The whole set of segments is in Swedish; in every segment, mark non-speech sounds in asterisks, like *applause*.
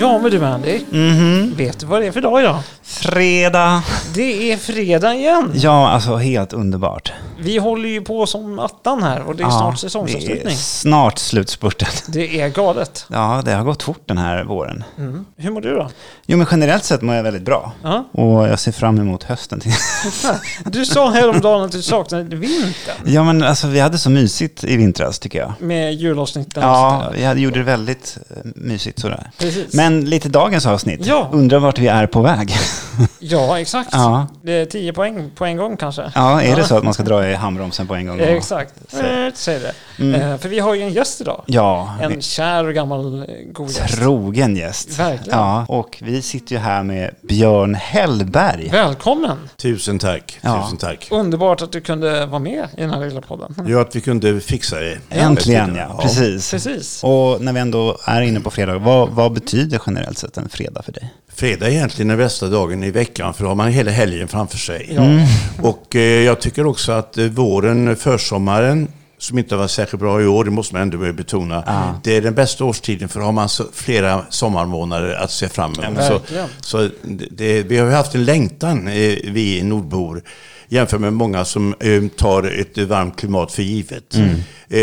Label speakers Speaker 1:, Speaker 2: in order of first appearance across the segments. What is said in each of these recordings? Speaker 1: Ja men du Andy,
Speaker 2: Mhm.
Speaker 1: vet du vad det är för dag idag?
Speaker 2: Fredag.
Speaker 1: Det är fredag igen!
Speaker 2: Ja, alltså helt underbart.
Speaker 1: Vi håller ju på som attan här och det är
Speaker 2: Ja,
Speaker 1: snart
Speaker 2: det är
Speaker 1: säsongsavslutning.
Speaker 2: Snart slutspurten.
Speaker 1: Det är galet.
Speaker 2: Ja, det har gått fort den här våren.
Speaker 1: Mm. Hur mår du då? *laughs*
Speaker 2: Jo, men generellt sett mår jag väldigt bra.
Speaker 1: Ja.
Speaker 2: Och jag ser fram emot hösten. till- *laughs*
Speaker 1: Du sa häromdagen att du saknade vintern
Speaker 2: Ja, men alltså vi hade så mysigt i vintras tycker jag.
Speaker 1: med julavsnitten.
Speaker 2: Ja, vi hade, gjorde det väldigt eh, mysigt sådär.
Speaker 1: Precis.
Speaker 2: Men lite dagens avsnitt.
Speaker 1: Ja.
Speaker 2: Undrar vart vi är på väg. *laughs*
Speaker 1: ja, exakt.
Speaker 2: Ja,
Speaker 1: Det är 10 poäng på en gång kanske.
Speaker 2: ja är det så att man ska dra i handbromsen på en gång?
Speaker 1: Eh, Exakt.
Speaker 2: Så.
Speaker 1: Eh, Säg det.
Speaker 2: Mm.
Speaker 1: Eh, För vi har ju en gäst idag.
Speaker 2: Ja,
Speaker 1: En kär och gammal eh, god gäst.
Speaker 2: Trogen gäst.
Speaker 1: Verkligen.
Speaker 2: Ja, och vi sitter ju här med Björn Hellberg.
Speaker 1: Välkommen!
Speaker 3: Tusen tack.
Speaker 2: Ja.
Speaker 3: Tusen tack.
Speaker 1: Underbart att du kunde vara med i den här lilla podden.
Speaker 3: Gör att vi kunde fixa det.
Speaker 2: Äntligen ja, precis.
Speaker 1: Precis.
Speaker 2: Och när vi ändå är inne på fredag, vad, vad betyder generellt sett en fredag för dig?
Speaker 3: Fredag är egentligen den bästa dagen i veckan för då har man hela helgen framför sig.
Speaker 1: Ja.
Speaker 2: Mm.
Speaker 3: Och eh, jag tycker också att eh, våren, försommaren, som inte har varit särskilt bra i år, det måste man ändå börja betona. Det är den bästa årstiden för då har man så flera sommarmånader att se fram emot. så
Speaker 1: verkligen.
Speaker 3: så det, det, vi har ju haft en längtan, eh, vi nordbor, jämfört med många som eh, tar ett varmt klimat för givet. Eh,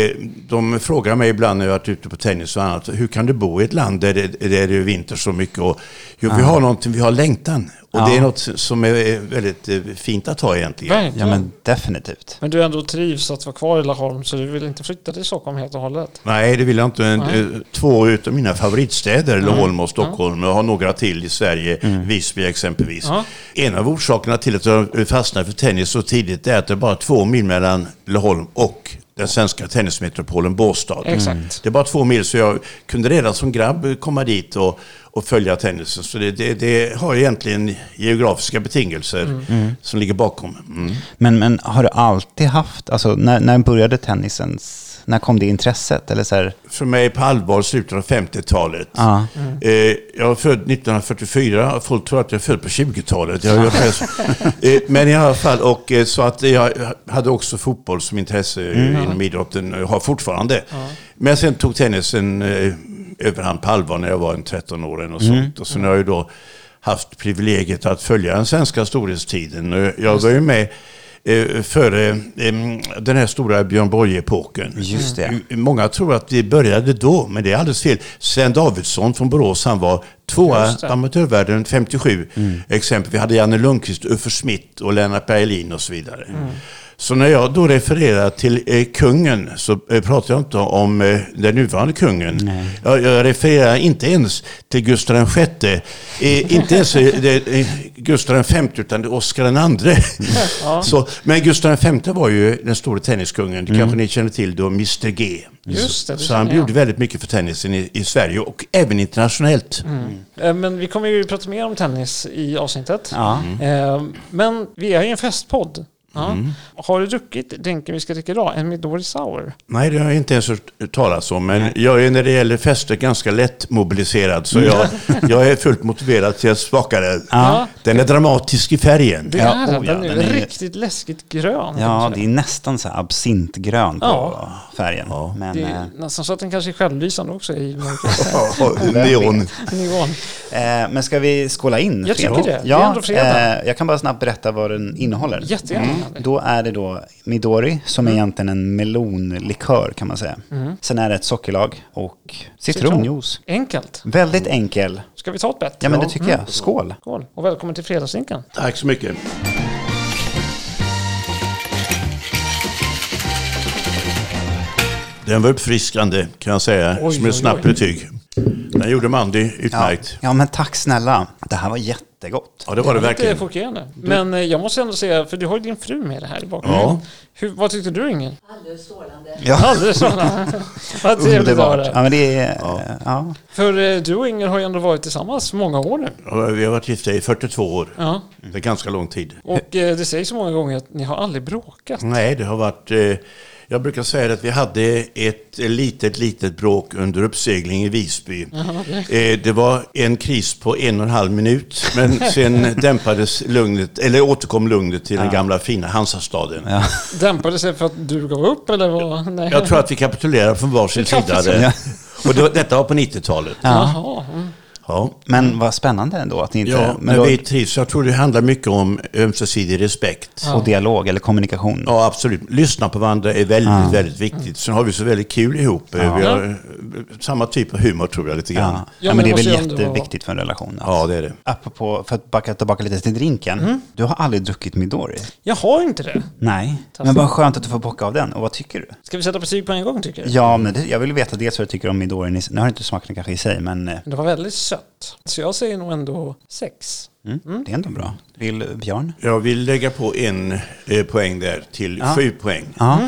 Speaker 3: de frågar mig ibland när jag har varit ute på tennis och annat, hur kan du bo i ett land där det, där det är vinter så mycket? Och, jo, vi har någonting, vi har längtan. Och det är något som är eh, väldigt eh, fint att ha egentligen.
Speaker 2: Ja
Speaker 1: Verkligen. men...
Speaker 2: men definitivt.
Speaker 1: du ändå trivs att vara kvar i Laholm så du vill inte flytta till Stockholm helt och hållet?
Speaker 3: Nej, det vill jag inte. En, eh, Två utav mina favoritstäder,
Speaker 1: Mm.
Speaker 3: Laholm och Stockholm, och har några till i Sverige, Visby exempelvis.
Speaker 1: Ja.
Speaker 3: En av orsakerna till att jag fastnade för tennis så tidigt är att det är bara två mil mellan Laholm och den svenska tennismetropolen Båstad.
Speaker 1: Mm. Exakt.
Speaker 3: Det är bara två mil, så jag kunde redan som grabb komma dit och, och följa tennisen. Så det, det, det har egentligen geografiska betingelser
Speaker 1: Mm.
Speaker 3: som ligger bakom. Mm.
Speaker 2: Men, men har du alltid haft, alltså när, när började tennisens, när kom det intresset? Eller så här,
Speaker 3: för mig på allvar slutet av 50-talet.
Speaker 2: Ja.
Speaker 3: Eh, jag är född 1944. Folk tror att jag är född på 20-talet. Jag gör det så. *laughs* eh, men i alla fall, och, eh, så att jag hade också fotboll som intresse eh, inom idrotten och har fortfarande. Men sen tog tennisen eh, överhand på allvar när jag var en 13 år eller något sånt. Och sen har jag ju då haft privilegiet att följa den svenska storhetstiden. Eh, Jag var ju med eh, före eh, den här stora Björn Borg-epoken. Eh,
Speaker 2: Just det.
Speaker 3: Många tror att vi började då, men det är alldeles fel. Sven Davidsson från Borås, han var tvåa
Speaker 1: Just
Speaker 3: på
Speaker 1: det.
Speaker 3: amatörvärlden 57.
Speaker 1: Mm.
Speaker 3: Exempel, vi hade Janne Lundqvist, Uffe Schmidt och Lennart Berglin och så vidare.
Speaker 1: Mm.
Speaker 3: Så när jag då refererar till eh, kungen så eh, pratar jag inte om eh, den nuvarande kungen. Jag, jag refererar inte ens till Gustav VI, eh, inte ens eh, det, eh, Gustav V utan det är Oscar II.
Speaker 1: *laughs* Ja. Mm.
Speaker 3: Så, men Gustav V var ju den store tenniskungen, det kanske ni känner till då, Mr G.
Speaker 1: Just det, det
Speaker 3: så han
Speaker 1: känner jag.
Speaker 3: gjorde väldigt mycket för tennisen i, i Sverige och även internationellt.
Speaker 2: Mm.
Speaker 1: Eh, Men vi kommer ju prata mer om tennis i avsnittet.
Speaker 2: ja. Mm.
Speaker 1: Eh, Men vi är ju en festpodd. Ja. Har du druckit drinken vi ska dricka idag? En Midori Sour?
Speaker 3: Nej, det har jag inte ens hört talas om. Men jag är när det gäller fester ganska lätt mobiliserad. Så jag,
Speaker 1: *laughs*
Speaker 3: jag är fullt motiverad till att smaka den.
Speaker 1: Mm. Ja.
Speaker 3: Den är dramatisk i färgen.
Speaker 1: Det
Speaker 2: Ja,
Speaker 1: är den.
Speaker 2: oh ja,
Speaker 1: Den är
Speaker 2: den är-
Speaker 1: riktigt läskigt grön.
Speaker 2: ja,
Speaker 1: kanske.
Speaker 2: det är nästan så här absintgrön på
Speaker 1: Ja.
Speaker 2: färgen. Men, eh,
Speaker 1: det är nästan så att den kanske är självlysande också i
Speaker 2: *laughs*
Speaker 3: Neon.
Speaker 1: nivån.
Speaker 2: eh, eh, men ska vi skåla in?
Speaker 1: Jag tycker
Speaker 2: fredag?
Speaker 1: det. Det är
Speaker 2: Ja,
Speaker 1: ändå fredag. Mm.
Speaker 2: eh, jag kan bara snabbt berätta vad den innehåller. Mm.
Speaker 1: Jättegärna. Andy.
Speaker 2: Då är det då Midori som
Speaker 1: Mm.
Speaker 2: är egentligen en melonlikör kan man säga. Sen är det ett sockerlag och citronjuice.
Speaker 1: Enkelt.
Speaker 2: Väldigt enkel.
Speaker 1: Ska vi ta ett bett?
Speaker 2: Ja men det tycker
Speaker 1: Mm.
Speaker 2: jag. Skål!
Speaker 1: Skål och välkommen till fredagsdrinken.
Speaker 3: Tack så mycket. Den var uppfriskande kan jag säga,
Speaker 1: Oj,
Speaker 3: som
Speaker 1: oj,
Speaker 3: ett snabbt
Speaker 1: oj.
Speaker 3: betyg. Den gjorde Mandy
Speaker 2: Ja,
Speaker 3: utmärkt. Ja.
Speaker 2: ja men tack snälla. Det här var jättegott.
Speaker 3: det var det
Speaker 1: Det är
Speaker 3: verkligen.
Speaker 1: chockerande. Men eh, jag måste ändå säga, för du har ju din fru med det här i bakgrunden.
Speaker 3: Ja.
Speaker 1: Hur, vad tyckte du Ingel?
Speaker 4: Alldeles strålande.
Speaker 2: Ja,
Speaker 1: Alldeles sådana. Vad trevligt att höra.
Speaker 2: Ja men det är... eh, Ja.
Speaker 1: För eh, du och Inger har ju ändå varit tillsammans många år nu.
Speaker 3: Ja, Vi har varit gifta i 42 år.
Speaker 1: Ja.
Speaker 3: Det är ganska lång tid.
Speaker 1: Och eh, det sägs så många gånger att ni har aldrig bråkat.
Speaker 3: Nej, det har varit... Eh, jag brukar säga att vi hade ett litet, litet bråk under uppsegling i Visby. Eh, det var en kris på en och en halv minut,
Speaker 2: *laughs*
Speaker 3: men sen dämpades lugnet, eller återkom lugnet till den gamla fina Hansastaden.
Speaker 1: Dämpade sig för att du gav upp eller vad? Nej.
Speaker 3: Jag tror att vi kapitulerade från varsin
Speaker 1: Vi kapitulerade.
Speaker 3: sida. där. Och det, var- detta var på 90-talet.
Speaker 1: Jaha. Mm.
Speaker 3: Ja.
Speaker 2: Men vad spännande ändå att ni inte...
Speaker 3: Ja,
Speaker 2: men
Speaker 3: men
Speaker 2: då,
Speaker 3: vi trivs. Jag tror det handlar mycket om ömsesidig respekt. Ja.
Speaker 2: Och dialog eller kommunikation.
Speaker 3: absolut. Lyssna på varandra är väldigt, väldigt viktigt. Sen har vi så väldigt kul ihop. Vi har eh, samma typ av humor tror jag lite grann.
Speaker 2: Ja.
Speaker 3: Ja,
Speaker 2: Ja,
Speaker 1: men
Speaker 2: men det är
Speaker 1: det
Speaker 2: väl
Speaker 1: måste ju ändå vara-
Speaker 2: jätteviktigt för en relation. Att,
Speaker 3: det är det.
Speaker 2: Apropå, för att backa tillbaka lite till drinken.
Speaker 1: Mm.
Speaker 2: Du har aldrig druckit Midori?
Speaker 1: Jag har inte det.
Speaker 2: Nej. Men vad skönt att du får bocka av den. Och vad tycker du?
Speaker 1: Ska vi sätta betyg på en gång tycker du?
Speaker 2: Ja, men det, jag vill veta dels vad du tycker om Midorin. i- Nu har inte smakat den kanske i sig, men eh,
Speaker 1: Det var väldigt sött. Så jag säger nog ändå sex.
Speaker 2: mm, det är ändå bra. Vill eh, Björn?
Speaker 3: Jag vill lägga på en eh, poäng där till sju poäng.
Speaker 2: Ja.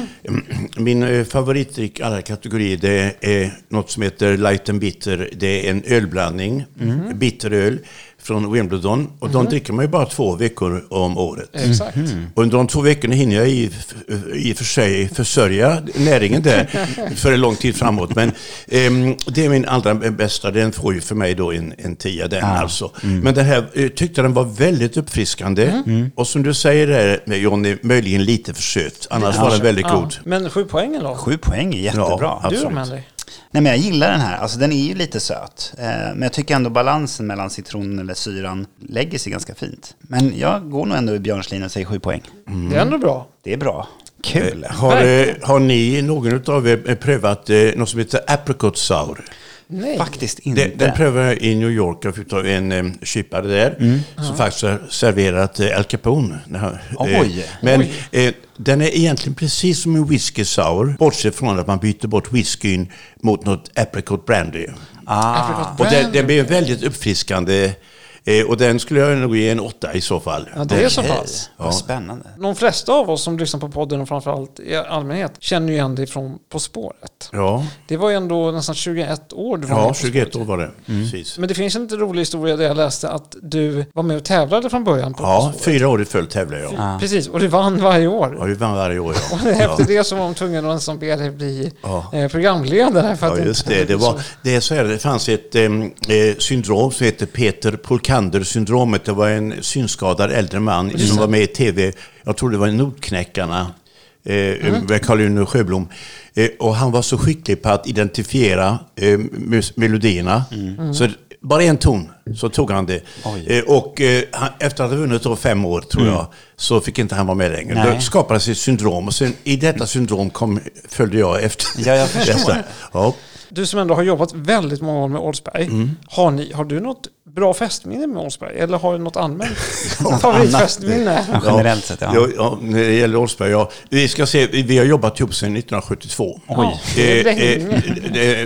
Speaker 3: Min eh, favoritdryck alla kategorier det är något som heter Light and Bitter. Det är en ölblandning,
Speaker 2: Mm.
Speaker 3: bitteröl från Wimbledon. Och de dricker man ju bara två veckor om året.
Speaker 1: Exakt.
Speaker 3: Och under de två veckorna hinner jag i, i och för sig försörja näringen där för en lång tid framåt. Men ehm, det är min allra bästa. Den får ju för mig då en, en tia den alltså. Men den här eh, tyckte den var väldigt uppfriskande. Och som du säger där med Johnny, möjligen lite för söt. Annars var den väldigt
Speaker 1: Ja.
Speaker 3: god.
Speaker 1: Men sju poängen då?
Speaker 2: Sju poäng är jättebra.
Speaker 3: Ja,
Speaker 1: du
Speaker 3: absolut.
Speaker 1: då Mandy?
Speaker 2: Nej, men jag gillar den här. Alltså, den är ju lite söt. Eh, men jag tycker ändå balansen mellan citronen eller syran lägger sig ganska fint. Men jag går nog ändå i Björns linje och säger sju poäng.
Speaker 1: Det är ändå bra.
Speaker 2: Det är bra. Kul.
Speaker 3: Har, eh,
Speaker 1: Verkligen.
Speaker 3: har ni, någon av er, eh, prövat eh, något som heter apricot sour?
Speaker 1: Nej.
Speaker 2: Faktiskt inte.
Speaker 1: Mm.
Speaker 3: Den, den prövade jag i New York. Jag fick ta en eh, kypare där
Speaker 1: Mm.
Speaker 3: som faktiskt har serverat eh, Al Capone. när han- eh,
Speaker 2: Oj.
Speaker 3: Men Eh, den är egentligen precis som en whisky sour, bortsett från att man byter bort whiskyn mot något apricot brandy.
Speaker 2: Ah,
Speaker 1: Apricot
Speaker 3: Och den,
Speaker 1: brandy.
Speaker 3: den blir väldigt uppfriskande eh, och den skulle jag nog ge en åtta i så fall.
Speaker 1: Ja, det är så
Speaker 2: Okej.
Speaker 1: pass.
Speaker 2: Vad spännande.
Speaker 1: De flesta av oss som lyssnar på podden och framförallt i allmänhet känner ju igen dig från På spåret.
Speaker 3: Ja,
Speaker 1: Det var ju ändå nästan 21 år du var med
Speaker 3: ja
Speaker 1: På
Speaker 3: 21
Speaker 1: spåret.
Speaker 3: år var det.
Speaker 1: Mm.
Speaker 3: Precis.
Speaker 1: Men det finns en lite rolig historia där jag läste att du var med och tävlade från början på På
Speaker 3: Ja,
Speaker 1: spåret.
Speaker 3: fyra år i följd tävlade jag.
Speaker 1: Precis, och du vann varje
Speaker 3: Ja,
Speaker 1: år.
Speaker 3: vi vann
Speaker 1: *laughs*
Speaker 3: varje år. Ja.
Speaker 1: Efter det så var de tvungna att nästan be dig bli
Speaker 3: Ja.
Speaker 1: eh, programledare. För att
Speaker 3: Ja, just det. Det, var, det, är så här, det fanns ett em, eh, syndrom som heter Peter Polkander-syndromet. Det var en synskadad äldre man som var med i tv. Jag tror det var Notknäckarna eh, med Karl-Uno Sjöblom. Eh, och han var så skicklig på att identifiera eh, mus- melodierna. Så bara en ton så tog han det. Eh, och eh, han, efter att ha vunnit då fem år, tror jag, så fick inte han vara med längre.
Speaker 2: Nej.
Speaker 3: Då skapades ett syndrom och sen, i detta syndrom kom, följde jag efter.
Speaker 2: Ja, jag förstår
Speaker 3: detta. Ja.
Speaker 1: Du som ändå har jobbat väldigt många år med Oldsberg,
Speaker 3: Mm.
Speaker 1: har, ni, har du något bra festminne med Oldsberg? Eller har du något
Speaker 3: *laughs*
Speaker 1: allmänt favoritfestminne?
Speaker 2: Ja, generellt sett, ja.
Speaker 3: ja. ja, när det gäller Oldsberg, ja. Vi ska se, vi- vi har jobbat ihop sedan 1972.
Speaker 1: Oj. Det är länge.
Speaker 3: eh,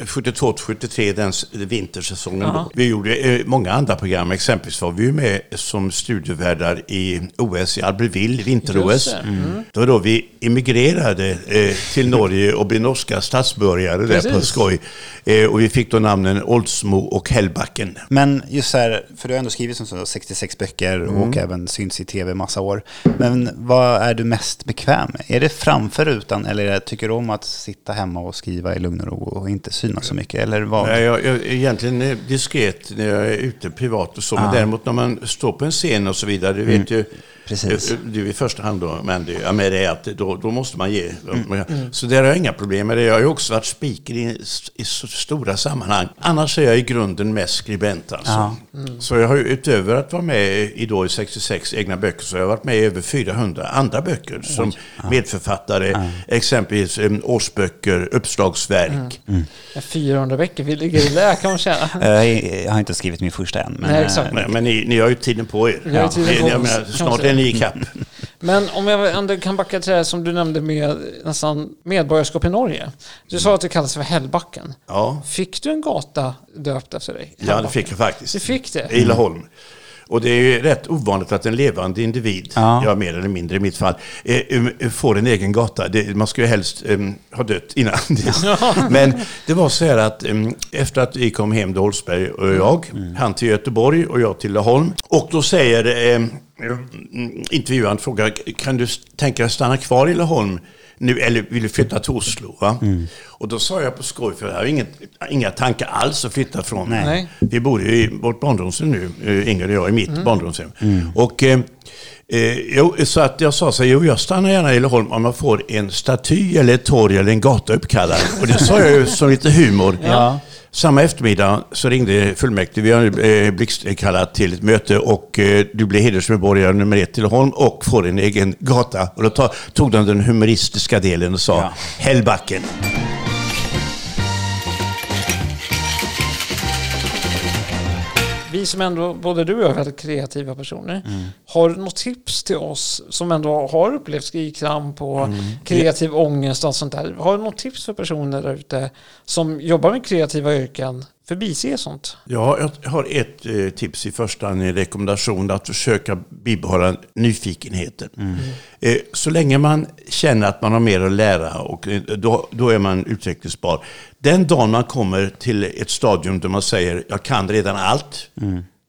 Speaker 3: eh, 72 till 73, den s- vintersäsongen. då. Vi gjorde eh, många andra program. Exempelvis var vi ju med som studiovärdar i OS i Albertville,
Speaker 1: Just
Speaker 3: vinter-OS.
Speaker 1: det.
Speaker 3: Det var då vi emigrerade eh, till Norge och blev norska statsbörjare där på
Speaker 1: Precis.
Speaker 3: skoj. Eh, och vi fick då namnen Oldsmo och Hellbacken.
Speaker 2: Men just så här, för du har ändå skrivit som så 66 böcker
Speaker 3: Mm.
Speaker 2: och även syns i tv massa år. Men vad är du mest bekväm med? Är det framför rutan eller är det, tycker du om att sitta hemma och skriva i lugn och ro och inte synas så mycket? Eller vad?
Speaker 3: Nej, jag, jag är egentligen eh, diskret när jag är ute privat och så. Men däremot när man står på en scen och så vidare, du vet ju,
Speaker 2: precis.
Speaker 3: eh, du i första hand då, men det, ja, med det är att då, då måste man ge. Så där har jag inga problem med det. Jag har ju också varit speaker i, i så stora sammanhang. Annars är jag i grunden mest skribent alltså. Så jag har ju utöver att vara med i, då, i 66 egna böcker så har jag varit med i över 400 andra böcker som medförfattare. Exempelvis eh, årsböcker, uppslagsverk.
Speaker 1: 400 veckor, vi ligger i lä kan man känna.
Speaker 2: Eh, Jag, jag har inte skrivit min första än. Men,
Speaker 1: Nej, exakt.
Speaker 2: eh,
Speaker 3: Nej, men ni, ni har ju tiden på er.
Speaker 1: Vi har ju tiden
Speaker 3: Ni-
Speaker 1: på
Speaker 3: jag
Speaker 1: oss,
Speaker 3: menar,
Speaker 1: kan man
Speaker 3: snart
Speaker 1: säga.
Speaker 3: är ni ikapp.
Speaker 1: Men om jag ändå kan backa till det här som du nämnde med nästan medborgarskap i Norge. Du sa att det kallas för Hällbacken.
Speaker 3: Ja.
Speaker 1: Fick du en gata döpt efter dig?
Speaker 3: ja, det fick jag
Speaker 1: Du
Speaker 3: faktiskt.
Speaker 1: fick det?
Speaker 3: I Laholm. Och det är ju rätt ovanligt att en levande individ,
Speaker 2: Ja.
Speaker 3: ja, mer eller mindre i mitt fall, eh, eh, får en egen gata. Det, man skulle ju helst eh, ha dött
Speaker 1: *laughs*
Speaker 3: innan. Men det var så här att eh, efter att vi kom hem, då Oldsberg
Speaker 1: Mm.
Speaker 3: och jag, han till Göteborg och jag till Laholm. Och då säger eh, Mm, intervjuaren frågar, kan du s- tänka dig att stanna kvar i Laholm nu eller vill du flytta till Oslo? Va?
Speaker 1: Mm.
Speaker 3: Och då sa jag på skoj, för jag har inget, inga tankar alls att flytta från.
Speaker 1: Nej.
Speaker 3: Vi bor ju i vårt barndomshem nu, eh, Inger och jag, i mitt
Speaker 2: Mm.
Speaker 3: barndomshem. Och, eh, eh, jo, så att jag sa så här, jo jag stannar gärna i Laholm om
Speaker 2: *laughs*
Speaker 3: jag får en staty eller ett torg eller en gata uppkallad. Och det sa jag ju som lite humor.
Speaker 2: Ja.
Speaker 3: Samma eftermiddag så ringde fullmäktige, vi har nu, eh, blixtkallat till ett möte och eh, du blir hedersmedborgare nummer ett till Holm och får en egen gata. Och då ta- tog de den humoristiska delen och sa
Speaker 2: Ja.
Speaker 3: Hällbacken.
Speaker 1: Vi som ändå, både du och jag, är väldigt kreativa personer.
Speaker 3: Mm.
Speaker 1: Har du något tips till oss som ändå har upplevt skrivkramp och
Speaker 3: Mm.
Speaker 1: kreativ ångest och sånt där? Har du något tips för personer där ute som jobbar med kreativa yrken? Förbise sånt.
Speaker 3: Ja, jag har ett eh, tips i första hand, en rekommendation, att försöka bibehålla nyfikenheten.
Speaker 2: Mm.
Speaker 3: Eh, så länge man känner att man har mer att lära, och, eh, då, då är man utvecklingsbar. Den dagen man kommer till ett stadium där man säger jag kan redan allt,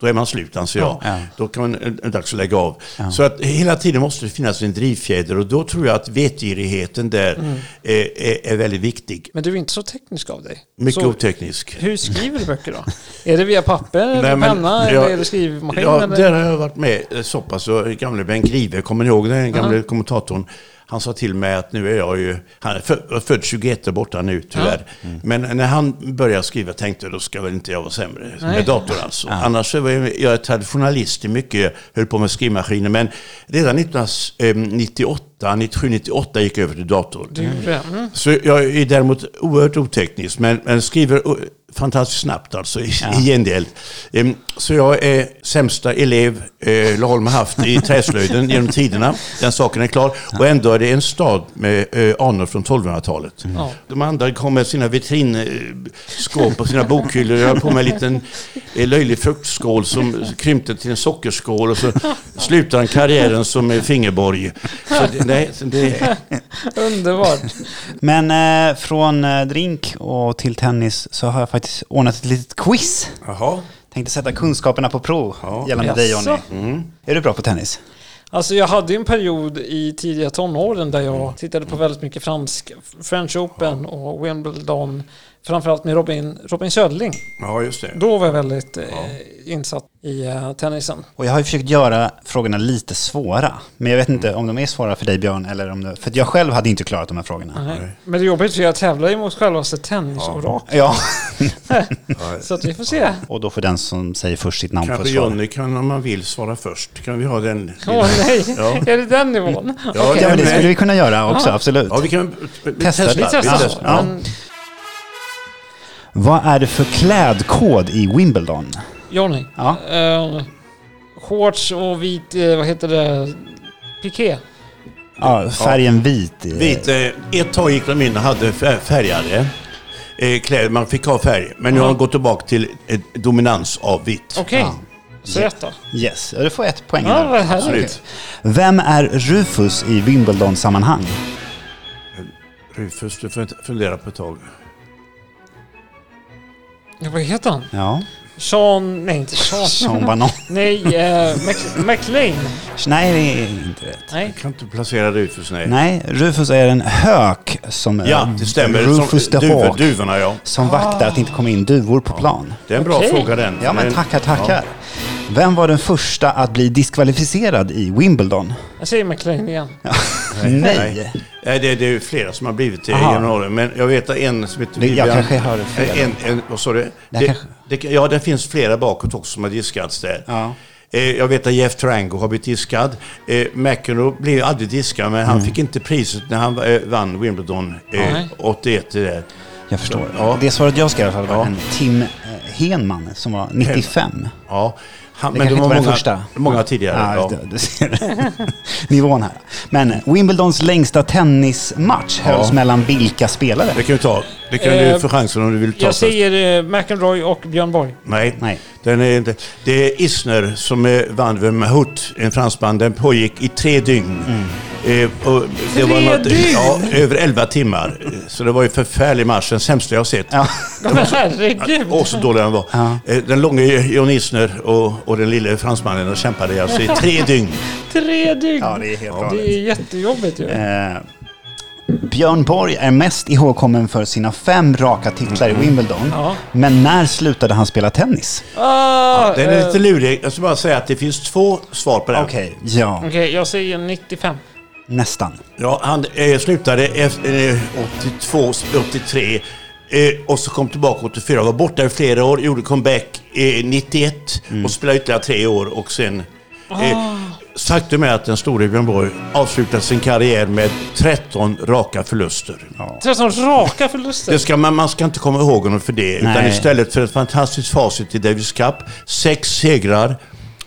Speaker 3: då är man slut anser jag.
Speaker 2: Mm. Ja.
Speaker 3: Då kan man eh, dags att lägga av. Så att hela tiden måste det finnas en drivfjäder och då tror jag att vetgirigheten där
Speaker 2: Mm.
Speaker 3: eh, är, är väldigt viktig.
Speaker 1: Men du är inte så teknisk av dig.
Speaker 3: Mycket
Speaker 1: så
Speaker 3: oteknisk.
Speaker 1: hur skriver du böcker då? är det via papper, eller
Speaker 3: Nej, men
Speaker 1: penna
Speaker 3: jag-
Speaker 1: eller är det skrivmaskin?
Speaker 3: Ja,
Speaker 1: eller?
Speaker 3: där har jag varit med eh, så pass. Och Gamle Bengt Grive, kommer ni ihåg den gamle kommentatorn? Han sa till mig att nu är jag ju, han är fö- född 21 där borta nu tyvärr. Mm. Men när han började skriva tänkte jag då ska väl inte jag vara sämre
Speaker 1: Nej.
Speaker 3: med dator alltså. Annars så var jag, jag är traditionalist i mycket, jag höll på med skrivmaskiner. Men redan eh, 1998, 97, 98 gick jag över till dator.
Speaker 1: Du, mm.
Speaker 3: Så jag är däremot oerhört oteknisk, men, men skriver o- fantastiskt snabbt alltså i, i gengäld. Ehm, så jag är sämsta elev eh, Laholm har haft i träslöjden genom tiderna. Den saken är klar. Och ändå är det en stad med eh, anor från 1200-talet.
Speaker 1: Ja.
Speaker 3: De andra kom med sina vitrinskåp och sina bokhyllor. Jag höll på med en liten eh, löjlig fruktskål som krympte till en sockerskål och så slutade han karriären som eh, fingerborg. Så det, nej, så det,
Speaker 1: Underbart.
Speaker 2: Men eh, från eh, drink och till tennis så har jag faktiskt ordnat ett litet quiz.
Speaker 3: Jaha.
Speaker 2: Tänkte sätta kunskaperna på prov
Speaker 3: Ja. Mm.
Speaker 2: gällande dig
Speaker 1: Jaså?
Speaker 2: Johnny. Är du bra på tennis?
Speaker 1: Alltså jag hade ju en period i tidiga tonåren där jag tittade på väldigt mycket fransk French Open och Wimbledon. Framförallt med Robin, Robin Södling.
Speaker 3: Ja, just det.
Speaker 1: Då var jag väldigt eh, insatt i eh, tennisen.
Speaker 2: Och jag har ju försökt göra frågorna lite svåra. Men jag vet inte om de är svåra för dig Björn eller om det... För att jag själv hade inte klarat de här frågorna.
Speaker 1: Nej. Men det är jobbigt för jag tävlar ju mot självaste tennisorak.
Speaker 2: Ja, *laughs*
Speaker 1: Så att vi får se.
Speaker 2: och då får den som säger först sitt namn få
Speaker 3: Kanske
Speaker 2: svara.
Speaker 3: Johnny kan, om man vill, svara först. Kan vi ha den?
Speaker 1: Åh nej,
Speaker 3: Ja.
Speaker 1: är det den nivån?
Speaker 3: Ja,
Speaker 1: Okej.
Speaker 2: Ja, men det
Speaker 3: Nej.
Speaker 2: skulle vi kunna göra också, absolut.
Speaker 3: Ja, vi kan vi
Speaker 2: Testa
Speaker 1: Vi
Speaker 2: det.
Speaker 3: Vi
Speaker 1: testar.
Speaker 3: testar.
Speaker 2: Ja.
Speaker 1: Men
Speaker 2: Vad är det för klädkod i Wimbledon?
Speaker 1: Johnny,
Speaker 2: Ja.
Speaker 1: eh, shorts och vit, eh, vad heter det, piké.
Speaker 2: Ja, färgen vit. i-
Speaker 3: Vit, eh, ett tag gick de in och hade fär- färgade eh, kläder. Man fick ha färg. Men nu har de gått tillbaka till eh, dominans av vitt.
Speaker 1: Okej, så rätt då.
Speaker 2: Yes, ja, du får ett poäng.
Speaker 1: Ja,
Speaker 2: där.
Speaker 1: vad härligt.
Speaker 3: Absolut.
Speaker 2: Vem är Rufus i Wimbledon-sammanhang?
Speaker 3: Rufus, du får inte fundera på ett tag.
Speaker 1: Ja, vad heter han?
Speaker 2: Ja,
Speaker 1: Sean, nej inte Sean.
Speaker 2: som
Speaker 3: *laughs*
Speaker 2: banan.
Speaker 1: Nej, eh, Mac- McLean.
Speaker 2: Nej, det är inte rätt.
Speaker 1: Nej.
Speaker 3: Jag kan inte placera Rufus, nej.
Speaker 2: Nej, Rufus är en hök som...
Speaker 3: Ja, det stämmer.
Speaker 2: Rufus the
Speaker 3: duv-
Speaker 2: Hawk.
Speaker 3: Duvorna, ja.
Speaker 2: Som vaktar att det inte kommer in duvor på plan.
Speaker 3: Det är en bra
Speaker 1: Okej.
Speaker 3: fråga den.
Speaker 2: Ja, men
Speaker 3: Den-
Speaker 2: tackar,
Speaker 3: Ja.
Speaker 2: tackar. Vem var den första att bli diskvalificerad i Wimbledon?
Speaker 1: Jag säger McLean igen.
Speaker 2: *laughs* Nej.
Speaker 3: Nej, det, det är ju flera som har blivit det
Speaker 2: Aha.
Speaker 3: genom åren. Men jag vet att en som heter Eh,
Speaker 2: Det- jag kanske hörde fel.
Speaker 3: En, en, vad sa du?
Speaker 2: Det
Speaker 3: Det,
Speaker 2: kanske-
Speaker 3: det, ja, det finns flera bakåt också som har diskats där.
Speaker 2: Ja.
Speaker 3: Eh, Jag vet att Jeff Trango har blivit diskad. Eh, McEnroe blev aldrig diskad, men
Speaker 2: Mm.
Speaker 3: han fick inte priset när han eh, vann Wimbledon eh,
Speaker 1: Nej.
Speaker 3: 81. det Där.
Speaker 2: Jag förstår.
Speaker 3: Ja.
Speaker 2: Det svaret jag ska i alla fall var
Speaker 3: Ja.
Speaker 2: en Tim eh, Henman som var 95.
Speaker 3: Ja. Han,
Speaker 2: Det kanske inte var den
Speaker 3: många,
Speaker 2: första.
Speaker 3: många tidigare.
Speaker 2: Ja,
Speaker 3: Ja,
Speaker 2: Du, du ser *laughs* nivån här. Men Wimbledons längsta tennismatch hölls mellan vilka spelare?
Speaker 3: Det kan du ta. Det kan
Speaker 1: Eh,
Speaker 3: du få chansen om du vill ta
Speaker 1: Jag
Speaker 3: först.
Speaker 1: säger eh, McEnroy och Björn Borg.
Speaker 3: Nej,
Speaker 2: Nej.
Speaker 3: Den är inte. det är Isner som eh, vann över Mahout, en fransman. Den pågick i tre dygn.
Speaker 2: Mm.
Speaker 3: Eh, och det
Speaker 1: Tre dygn?
Speaker 3: Ja, över elva timmar. Eh, Så det var ju förfärlig match, den sämsta jag har sett.
Speaker 2: Ja. *laughs*
Speaker 1: Ja, Men herregud!
Speaker 3: Åh, så dålig han var.
Speaker 2: Ja.
Speaker 3: Eh, Den långe John Isner och, och den lille fransmannen de kämpade alltså i tre dygn.
Speaker 1: Tre dygn!
Speaker 2: Ja, det är helt galet.
Speaker 1: Det är jättejobbigt ju.
Speaker 2: Eh, Björn Borg är mest ihågkommen för sina fem raka titlar
Speaker 3: Mm.
Speaker 2: i Wimbledon.
Speaker 1: Ja.
Speaker 2: Men när slutade han spela tennis?
Speaker 1: Ah,
Speaker 3: Den är
Speaker 1: eh,
Speaker 3: lite lurig. Jag ska bara säga att det finns två svar på den.
Speaker 2: Okej, ja,
Speaker 1: eh,
Speaker 3: Mm.
Speaker 1: Okej, jag säger 95.
Speaker 2: nästan.
Speaker 3: Ja, han eh, slutade efter, eh, 82, 83. Eh, och så kom tillbaka 84, var borta i flera år, gjorde comeback eh, 91
Speaker 2: Mm.
Speaker 3: och spelade ytterligare tre år och sen...
Speaker 2: Ah.
Speaker 3: Eh, Faktum är att den store Björn Borg avslutade sin karriär med 13 raka förluster.
Speaker 1: 13 raka förluster.
Speaker 3: Det ska man, man ska inte komma ihåg honom för det. Utan
Speaker 2: Nej.
Speaker 3: istället för ett fantastiskt facit i Davis Cup, sex segrar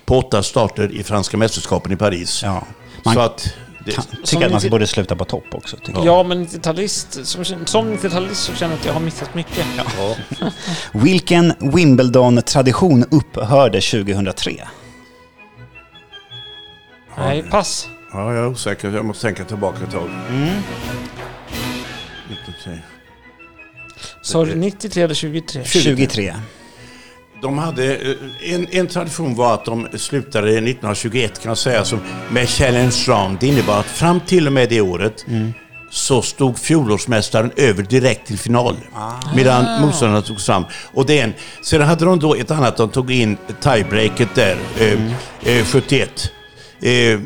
Speaker 3: på åtta starter i franska mästerskapen i Paris.
Speaker 2: Ja. Man
Speaker 3: Så att... Det,
Speaker 2: kan
Speaker 1: Som
Speaker 2: tycka att man
Speaker 1: lite-
Speaker 2: borde sluta på topp också. Tycker jag.
Speaker 1: Ja, men 90-talist, som, som 90-talist så känner jag att jag har missat mycket.
Speaker 2: Vilken Wimbledon-tradition upphörde 2003?
Speaker 1: Nej, pass.
Speaker 3: ja, jag är osäker. Jag måste tänka tillbaka ett tag.
Speaker 1: Så 93 eller 23?
Speaker 2: 23.
Speaker 3: De hade, eh, en, en tradition var att de slutade 1921 kan jag säga som, med Challenge Round. Det innebar att fram till och med det året så stod fjolårsmästaren över direkt till final. Medan motståndarna tog fram. Och det är en, sedan hade de då ett annat, de tog in tiebreaket där, eh, eh, 71. Eh,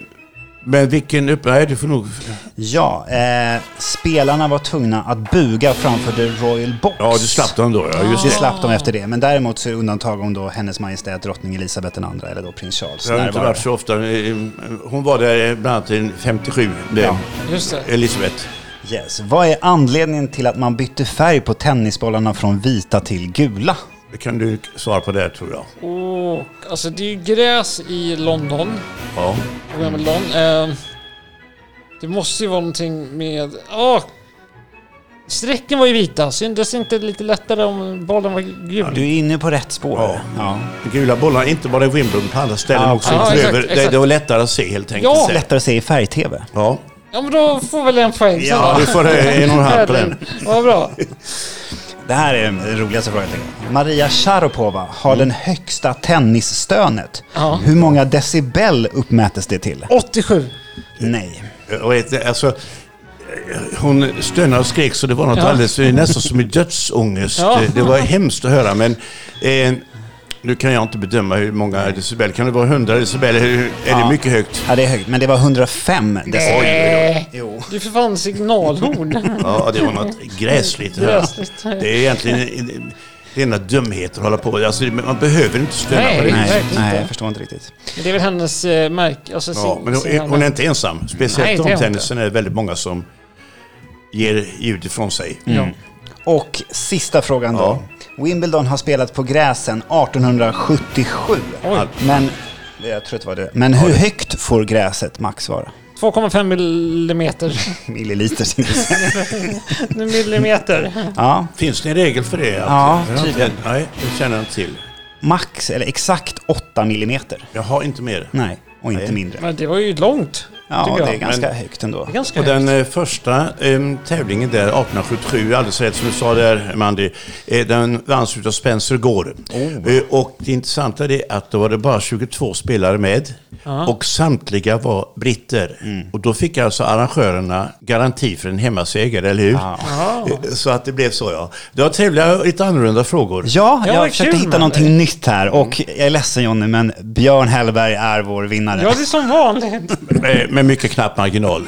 Speaker 3: men vilken upp... Nej, du får nog...
Speaker 2: Ja, eh, spelarna var tvungna att buga framför The Royal Box.
Speaker 3: Ja, du slapp dem då. Ja, just
Speaker 2: Det
Speaker 3: det.
Speaker 2: slapp de efter det, men däremot så är det undantag om då hennes majestät drottning Elisabeth II eller då prins Charles
Speaker 3: Jag har inte
Speaker 2: närvarar.
Speaker 3: varit så ofta. Eh, Hon var där eh, bland annat i 57, det,
Speaker 2: Ja.
Speaker 1: Just det.
Speaker 3: Elisabeth.
Speaker 2: Yes. Vad är anledningen till att man bytte färg på tennisbollarna från vita till gula?
Speaker 3: Det kan du svara på det tror
Speaker 1: Oh.
Speaker 3: jag.
Speaker 1: Och, alltså det är ju gräs i London.
Speaker 3: Ja.
Speaker 1: Och vem är Lon? Eh, det måste ju vara någonting med... Åh! Strecken var ju vita. Syntes inte lite lättare om bollen var gul?
Speaker 2: Du är inne på rätt spår.
Speaker 3: Ja.
Speaker 2: Ja.
Speaker 3: De gula bollarna, inte bara i Wimbledon, på andra ställen
Speaker 2: Ja,
Speaker 3: också.
Speaker 1: ja,
Speaker 3: Utöver-
Speaker 1: exakt,
Speaker 3: Det,
Speaker 1: exakt.
Speaker 3: det var lättare att se helt enkelt.
Speaker 1: Ja.
Speaker 3: sen.
Speaker 2: Lättare att se i färg-tv.
Speaker 3: Ja.
Speaker 1: Ja, men då får väl en poäng sen
Speaker 3: ja,
Speaker 1: då.
Speaker 3: du får eh, en och en halv på den.
Speaker 1: Vad bra.
Speaker 2: Det här är den roligaste frågan jag tänker. Maria Sharapova har den högsta tennisstönet.
Speaker 1: Ja.
Speaker 2: Hur många decibel uppmättes det till?
Speaker 1: 87.
Speaker 2: Nej.
Speaker 3: Och ett, alltså, eh, hon stönade och skrek så det var något
Speaker 1: Ja.
Speaker 3: alldeles, det är nästan som i dödsångest.
Speaker 1: Ja.
Speaker 3: Det, det var hemskt att höra men eh, nu kan jag inte bedöma hur många decibel, kan det vara 100 decibel? Är är det mycket högt?
Speaker 2: Ja, det är högt, men det var 105 decibel.
Speaker 1: Nej.
Speaker 2: Jo.
Speaker 1: Det Eh, är för fan signalhorn.
Speaker 3: Ja, det var något gräsligt. att höra.
Speaker 1: Gräsligt.
Speaker 3: Det är egentligen rena dumheter att hålla på med. Alltså, man behöver inte stöna
Speaker 1: Nej.
Speaker 3: på det.
Speaker 2: Nej,
Speaker 1: verkligen
Speaker 2: nej,
Speaker 1: inte.
Speaker 2: jag förstår inte riktigt.
Speaker 1: Men Det är väl hennes eh, märke? Alltså,
Speaker 3: Ja,
Speaker 1: sin-
Speaker 3: men hon,
Speaker 1: sin-
Speaker 3: hon är inte ensam.
Speaker 1: Nej,
Speaker 3: Speciellt
Speaker 1: det är hon
Speaker 3: damtennisen är det väldigt många som ger ljud ifrån sig.
Speaker 2: Mm.
Speaker 1: Ja.
Speaker 2: Och sista frågan då. Wimbledon har spelat på gräs sedan 1877.
Speaker 1: Oj.
Speaker 2: Men, jag tror att det var det. Men hur högt får gräset max vara?
Speaker 1: 2,5
Speaker 3: *laughs*
Speaker 1: millimeter.
Speaker 2: Milliliter. tänkte jag
Speaker 1: *laughs*
Speaker 2: säga.
Speaker 1: Nu millimeter.
Speaker 2: ja,
Speaker 3: Finns det en regel för det? Att-
Speaker 2: Ja,
Speaker 3: Jag har inte-
Speaker 2: tydligen.
Speaker 3: Nej, det känner jag inte till.
Speaker 2: max eller exakt 8 millimeter.
Speaker 3: Jag har inte mer.
Speaker 2: Nej, och inte
Speaker 3: Nej.
Speaker 2: mindre.
Speaker 1: Men det var ju långt.
Speaker 2: Ja,
Speaker 1: tycker
Speaker 2: det
Speaker 1: jag.
Speaker 2: är ganska
Speaker 3: Men-
Speaker 2: högt ändå.
Speaker 1: Det är ganska
Speaker 3: Och
Speaker 1: högt.
Speaker 3: den eh, första eh, tävlingen där, 1877, alldeles rätt som du sa där, Mandy, eh, den vanns utav Spencer Gore. Eh, och det intressanta är att då var det bara 22 spelare med och samtliga var britter. Och då fick alltså arrangörerna garanti för en hemmaseger, eller hur? Eh, Så att det blev så, ja. Det var trevliga och lite annorlunda frågor.
Speaker 2: Ja,
Speaker 1: Ja,
Speaker 2: jag
Speaker 1: vad
Speaker 2: försökte
Speaker 1: kul,
Speaker 2: hitta
Speaker 1: man.
Speaker 2: någonting nytt här och jag är ledsen Jonny, men Björn Hellberg är vår vinnare.
Speaker 1: Ja, det är som vanligt.
Speaker 3: Eh, Med mycket knapp marginal.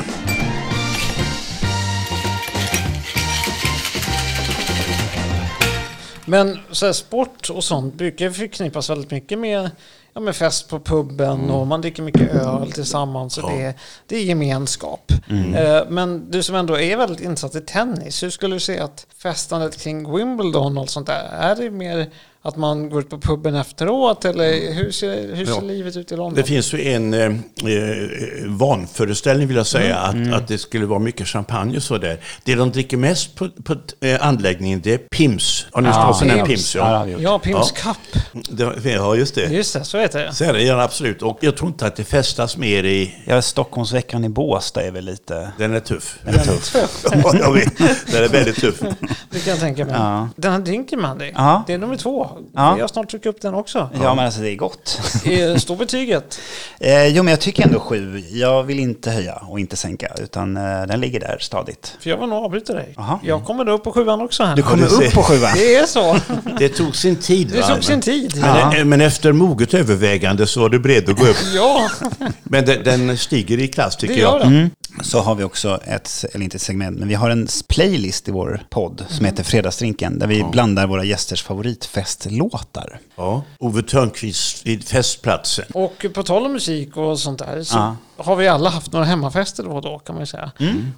Speaker 1: Men så här, sport och sånt brukar förknippas väldigt mycket med, ja, med fest på puben och man dricker mycket öl tillsammans. Och det, det är gemenskap. Eh, men du som ändå är väldigt insatt i tennis, hur skulle du säga att festandet kring Wimbledon och allt sånt där, är det mer att man går ut på puben efteråt eller hur ser, hur ser
Speaker 3: Ja.
Speaker 1: livet ut i
Speaker 3: Det
Speaker 1: London?
Speaker 3: finns ju en eh, eh, vanföreställning vill jag säga, att, att det skulle vara mycket champagne och sådär. Det de dricker mest på, på eh, anläggningen det är Pims. Har ni hört talas om den här
Speaker 1: Pims.
Speaker 3: Pims? Ja,
Speaker 1: Ja, Pims
Speaker 3: Ja.
Speaker 1: Cup.
Speaker 3: Det- ja just det.
Speaker 1: Just det, så heter det.
Speaker 3: Så är det ja, absolut. Och jag tror inte att det festas mer i...
Speaker 2: Ja, Stockholmsveckan i Båstad är väl lite...
Speaker 3: Den är tuff.
Speaker 1: Tuff.
Speaker 3: *laughs* ja, jag vet. Den är väldigt tuff.
Speaker 1: Det kan jag tänka mig.
Speaker 2: Ja.
Speaker 1: Den här drinken man dig,
Speaker 2: Ja.
Speaker 1: det är nummer två.
Speaker 2: Ja.
Speaker 1: Jag har snart tryckt upp den också.
Speaker 2: Ja, men alltså det är gott.
Speaker 1: Eh, Står betyget?
Speaker 2: Eh, jo, men jag tycker ändå sju. Jag vill inte höja och inte sänka, utan eh, den ligger där stadigt.
Speaker 1: För jag vill nog avbryta dig.
Speaker 2: Aha.
Speaker 1: Jag kommer upp på sjuan också här.
Speaker 2: Du
Speaker 1: nu.
Speaker 2: kommer
Speaker 3: du ser.
Speaker 2: upp på sjuan.
Speaker 1: Det är så.
Speaker 3: Det tog sin tid.
Speaker 1: Det
Speaker 3: va?
Speaker 1: tog sin tid.
Speaker 3: Men, men, eh, men efter moget övervägande så var du beredd att gå upp.
Speaker 1: Ja,
Speaker 3: Men den, den stiger i klass
Speaker 1: det
Speaker 3: tycker jag.
Speaker 1: gör det.
Speaker 2: så har vi också ett, eller inte ett segment, men vi har en playlist i vår podd
Speaker 3: Mm.
Speaker 2: som heter Fredagsdrinken där vi blandar våra gästers favoritfestlåtar.
Speaker 3: Ja. Ove Thörnqvist vid festplatsen.
Speaker 1: Och på tal om musik och sånt där så
Speaker 2: Ja.
Speaker 1: har vi alla haft några hemmafester då och då kan man ju säga.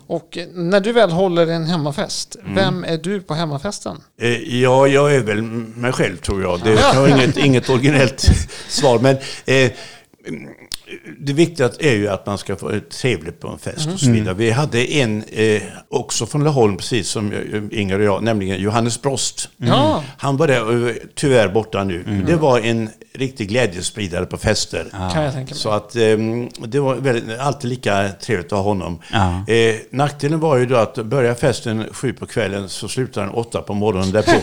Speaker 1: Och eh, när du väl håller en hemmafest, vem är du på hemmafesten?
Speaker 3: Eh, Ja, jag är väl mig själv tror jag. Det jag har inget, inget originellt svar. Men eh, det viktiga är ju att man ska få ett trevligt på en fest och så vidare. Vi hade en, eh, också från Laholm, precis som eh, Inger och jag, nämligen Johannes Brost.
Speaker 1: Ja.
Speaker 3: Han var där, och är tyvärr borta nu.
Speaker 2: Mm.
Speaker 3: Det var en riktig glädjespridare på fester.
Speaker 1: Kan jag tänka mig.
Speaker 3: Så att ehm, det var väldigt, alltid lika trevligt att ha honom.
Speaker 2: Ja.
Speaker 3: Eh, nackdelen var ju då att börjar festen sju på kvällen så slutar den åtta på
Speaker 2: *laughs*
Speaker 3: morgonen därpå.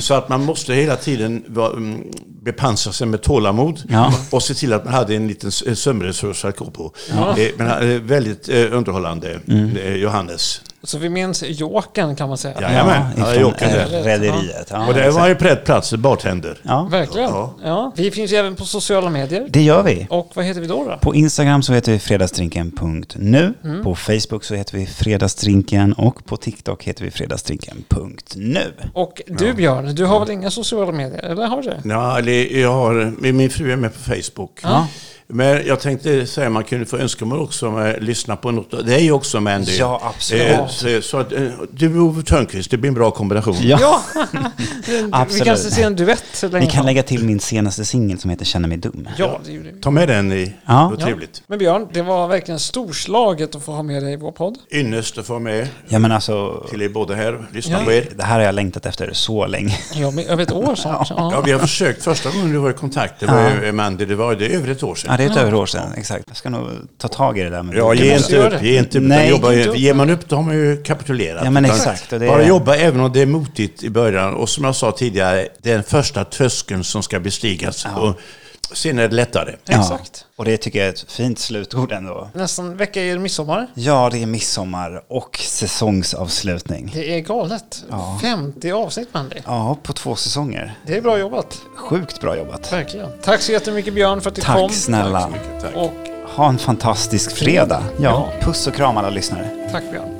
Speaker 3: så att man måste hela tiden va, mm, bepansra sig med tålamod
Speaker 2: Ja.
Speaker 3: och se till att man hade en liten s- sömnresurs att gå på. Eh, men han är väldigt eh, underhållande,
Speaker 2: Mm.
Speaker 3: eh, Johannes.
Speaker 1: Så vi minns Jåken kan man säga.
Speaker 3: Ja. Jajamän, ja, jag åker
Speaker 2: eh,
Speaker 1: där.
Speaker 2: Rederiet. Ja,
Speaker 3: och det
Speaker 2: exakt.
Speaker 3: var ju på rätt plats, bartender.
Speaker 2: ja.
Speaker 1: Verkligen. Ja.
Speaker 3: Ja.
Speaker 1: Vi finns ju även på sociala medier.
Speaker 2: Det gör vi.
Speaker 1: Och vad heter vi då? då?
Speaker 2: På Instagram så heter vi fredagsdrinken.nu.
Speaker 3: Mm.
Speaker 2: På Facebook så heter vi fredagsdrinken och på TikTok heter vi fredagsdrinken.nu.
Speaker 1: Och du Björn, du har väl inga sociala medier? Eller har du?
Speaker 3: Ja, eller jag har, min min fru är med på Facebook.
Speaker 2: Ja.
Speaker 3: Men jag tänkte säga man kunde få önskemål också om att lyssna på något. Det är ju också Mandy.
Speaker 2: Ja, absolut.
Speaker 3: Eh, så- Så att, eh, du och Ove Thörnqvist, det blir en bra kombination.
Speaker 1: Ja,
Speaker 2: *laughs*
Speaker 1: vi
Speaker 2: Absolut.
Speaker 1: kanske ser en duett så länge.
Speaker 2: Ni kan lägga till min senaste singel som heter Känner mig dum.
Speaker 1: Ja, det gjorde vi.
Speaker 3: Ta med den, i.
Speaker 2: Ja.
Speaker 3: det var
Speaker 1: Ja.
Speaker 3: trevligt.
Speaker 1: Men Björn, det var verkligen storslaget att få ha med dig i vår podd.
Speaker 3: Ynnest att få med
Speaker 2: Ja men alltså,
Speaker 3: till er båda här, lyssna
Speaker 1: Ja.
Speaker 3: på er.
Speaker 2: det här har jag längtat efter så länge.
Speaker 1: Ja, men över ett år
Speaker 2: *laughs*
Speaker 1: snart.
Speaker 3: Ja,
Speaker 1: Ja.
Speaker 3: vi har försökt. Första gången du var i kontakt, det var ju Mandy, det var det är över ett år
Speaker 2: Ja
Speaker 3: sedan.
Speaker 2: det är ett över år sedan, exakt. Jag ska nog ta tag i det där med
Speaker 3: Ja,
Speaker 2: boken
Speaker 3: ge
Speaker 1: måste
Speaker 3: inte
Speaker 1: göra
Speaker 3: upp.
Speaker 1: det.
Speaker 3: Ge inte upp.
Speaker 2: Nej,
Speaker 3: Nej, jobba,
Speaker 1: ge inte upp.
Speaker 3: Ger man upp, då har man ju kapitulerat.
Speaker 2: Ja men
Speaker 3: Utan-
Speaker 2: exakt. Och det
Speaker 3: Bara jobba även om det är motigt i början. Och som jag sa tidigare, det är den första tröskeln som ska bestigas. Och sen är det lättare.
Speaker 2: Ja.
Speaker 1: Exakt.
Speaker 2: Och det tycker jag är ett fint slutord ändå.
Speaker 1: Nästan vecka i midsommar.
Speaker 2: Ja, det är midsommar och säsongsavslutning.
Speaker 1: Det är galet. 50 avsnitt, Mandy.
Speaker 2: Ja, på två säsonger.
Speaker 1: Det är bra jobbat.
Speaker 2: Sjukt bra jobbat.
Speaker 1: Verkligen. Tack så jättemycket Björn för att du
Speaker 2: Tack
Speaker 1: kom.
Speaker 2: snälla.
Speaker 3: Mycket tack.
Speaker 1: Och
Speaker 2: Ha en fantastisk fredag. Ja, puss och kram alla lyssnare.
Speaker 1: tack Björn.